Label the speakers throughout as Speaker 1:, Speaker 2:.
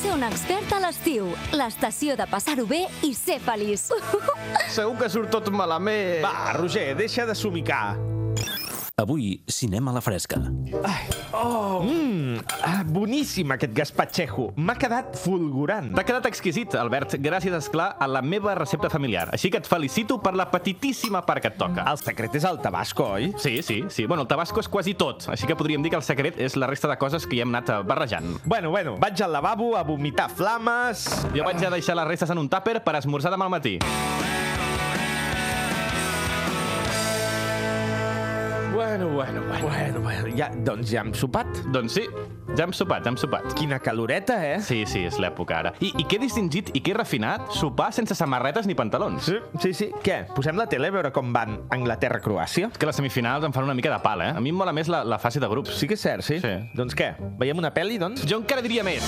Speaker 1: ser un expert a l'estiu. L'estació de passar-ho bé i ser feliç.
Speaker 2: Segur que surt tot malament. Va, Roger, deixa de somicar.
Speaker 3: Avui, cinema a la fresca.
Speaker 2: Oh, mm, ah, boníssim aquest gazpachejo. M'ha quedat fulgurant.
Speaker 4: T'ha quedat exquisit, Albert, gràcies, és clar a la meva recepta familiar. Així que et felicito per la petitíssima part que et toca.
Speaker 2: El secret és el tabasco, oi?
Speaker 4: Sí, sí, sí. Bueno, el tabasco és quasi tot, així que podríem dir que el secret és la resta de coses que hi hem anat eh, barrejant.
Speaker 2: Bueno, bueno, vaig al lavabo a vomitar flames...
Speaker 4: Jo vaig a deixar les restes en un tàper per esmorzar demà al matí.
Speaker 2: Bueno, bueno, bueno. bueno, bueno. Ja, doncs ja hem sopat.
Speaker 4: Doncs sí, ja hem sopat, ja hem sopat.
Speaker 2: Quina caloreta, eh?
Speaker 4: Sí, sí, és l'època ara. I, I que distingit i que refinat sopar sense samarretes ni pantalons.
Speaker 2: Sí, sí, sí. Què? Posem la tele a veure com van Anglaterra-Croàcia?
Speaker 4: És que les semifinals em fan una mica de pala, eh? A mi em mola més la, la fase de grups.
Speaker 2: Sí que és cert, sí?
Speaker 4: Sí.
Speaker 2: Doncs què? Veiem una pel·li, doncs?
Speaker 4: Jo encara diria més.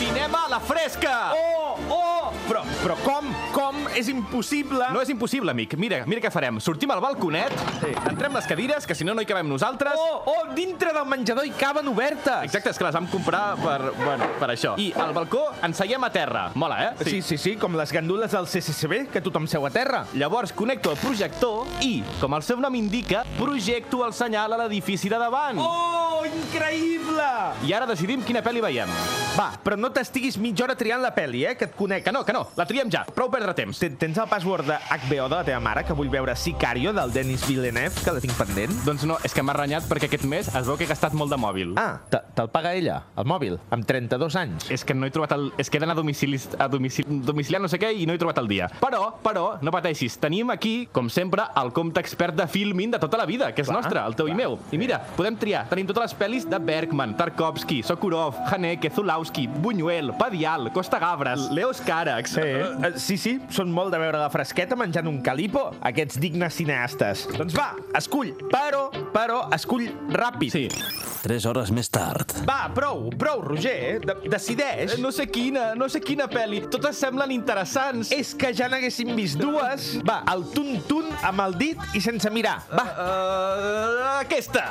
Speaker 4: Cinema a la fresca!
Speaker 2: Oh, oh! Però, però com? Com? És impossible!
Speaker 4: No és impossible, amic. Mira, mira què farem. Sortim al balconet,
Speaker 2: Sí.
Speaker 4: sí. entrem les cadires, que si no no hi cabem nosaltres.
Speaker 2: Oh, oh, dintre del menjador hi caben obertes!
Speaker 4: Exacte, és que les vam comprar per, bueno, per això. I al balcó ens seiem a terra. Mola, eh?
Speaker 2: Sí, sí, sí, com les gandules del CCCB, que tothom seu a terra.
Speaker 4: Llavors connecto el projector i, com el seu nom indica, projecto el senyal a l'edifici de davant.
Speaker 2: Oh, increïble!
Speaker 4: I ara decidim quina pel·li veiem.
Speaker 2: Va, però no t'estiguis mitja hora triant la pel·li, eh, que et conec.
Speaker 4: Que no, que no, la triem ja. Prou perdre temps.
Speaker 2: Te- Tens el password de HBO de la teva mare, que vull veure Sicario, del Denis Villeneuve, que la tinc pendent?
Speaker 4: Doncs no, és que m'ha renyat perquè aquest mes es veu que he gastat molt de mòbil.
Speaker 2: Ah, te- te'l paga ella, el mòbil, amb 32 anys.
Speaker 4: És que no he trobat el... És que he d'anar a domicili... A domicili... domiciliar no sé què i no he trobat el dia. Però, però, no pateixis. Tenim aquí, com sempre, el compte expert de filming de tota la vida, que és
Speaker 2: Clar,
Speaker 4: nostre, el teu
Speaker 2: clar.
Speaker 4: i meu. I mira, podem triar. Tenim totes les pel·lis de Bergman, Tarkovsky, Sokurov, Haneke, Zulawski, Buñuel, Padial, Costa Gavras, Leos Carax...
Speaker 2: Eh, sí, sí, són molt de veure la fresqueta menjant un calipo, aquests dignes cineastes. Doncs va, escull, però, però, escull ràpid.
Speaker 4: Sí.
Speaker 3: Tres hores més tard.
Speaker 2: Va, prou, prou, Roger, de decideix.
Speaker 4: Eh, No sé quina, no sé quina pel·li. Totes semblen interessants.
Speaker 2: És que ja n'haguéssim vist dues. Va, el tun-tun amb el dit i sense mirar. Va,
Speaker 4: Uh, aquesta!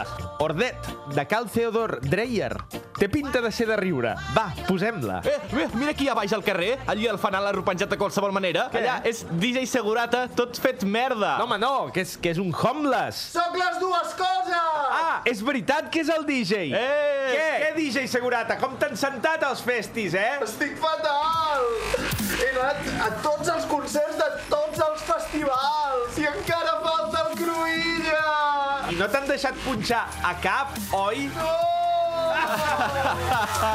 Speaker 2: Ordet, de Cal Theodor Dreyer. Té pinta de ser de riure. Va, posem-la.
Speaker 4: Eh, eh, mira aquí a baix al carrer, allí el fanal arropenjat de qualsevol manera.
Speaker 2: Què?
Speaker 4: Allà és DJ Segurata, tot fet merda.
Speaker 2: No, home, no, que és, que és un homeless.
Speaker 5: Sóc Ah. les dues coses!
Speaker 2: Ah, és veritat que és el DJ.
Speaker 4: Eh,
Speaker 2: Què? Què, DJ Segurata? Com t'han sentat els festis, eh?
Speaker 5: Estic fatal! He anat a tots els concerts de tots els festivals i encara falta el Cruïlla!
Speaker 2: I no t'han deixat punxar a cap, oi?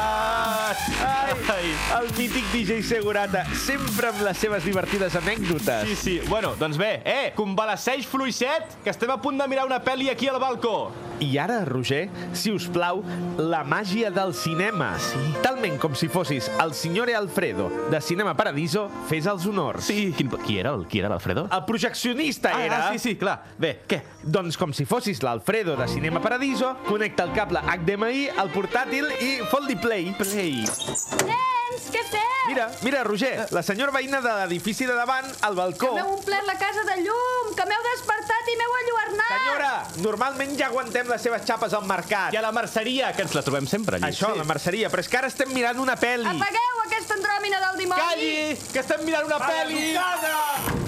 Speaker 2: Ai,
Speaker 4: Ai.
Speaker 2: el mític DJ Segurata, sempre amb les seves divertides anècdotes.
Speaker 4: Sí, sí. Bueno, doncs bé, eh, convalesceix fluixet, que estem a punt de mirar una pel·li aquí al balcó.
Speaker 2: I ara, Roger, si us plau, la màgia del cinema. Sí. Talment com si fossis el signore Alfredo de Cinema Paradiso, fes els honors.
Speaker 4: Sí. Quin, qui era el, qui era l'Alfredo?
Speaker 2: El projeccionista
Speaker 4: Ah,
Speaker 2: era...
Speaker 4: ah, sí, sí, clar. Bé, què?
Speaker 2: Doncs com si fossis l'Alfredo de Cinema Paradiso, connecta el cable HDMI al portàtil i foldy play.
Speaker 4: Play. Ah.
Speaker 6: Nens, què feu?
Speaker 2: Mira, mira, Roger, la senyora veïna de l'edifici de davant, al balcó.
Speaker 6: M'heu omplert la casa de llum, que m'heu despertat i m'heu enlluernat.
Speaker 2: Senyora, normalment ja aguantem les seves xapes al mercat.
Speaker 4: I a la merceria, que ens la trobem sempre allí.
Speaker 2: Això, la merceria, però és que ara estem mirant una pel·li.
Speaker 6: Apagueu aquesta andròmina del dimoni.
Speaker 4: Calli, que estem mirant una pel·li!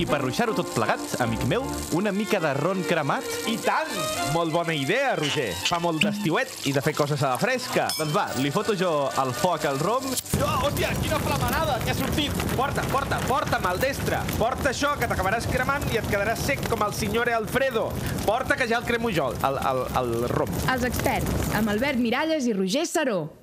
Speaker 4: I per ruixar-ho tot plegat, amic meu, una mica de ron cremat
Speaker 2: I tant! Molt bona idea, Roger. Fa molt d'estiuet i de fer coses a la fresca.
Speaker 4: Doncs va, li foto jo el foc al rom. No, hòstia, quina flamarada que ha sortit!
Speaker 2: Porta, porta, porta, maldestre. Porta això, que t'acabaràs cremant i et quedaràs sec com el signore Alfredo. Porta, que ja el cremo jo, el, el, el rom.
Speaker 7: Els experts, amb Albert Miralles i Roger Saró.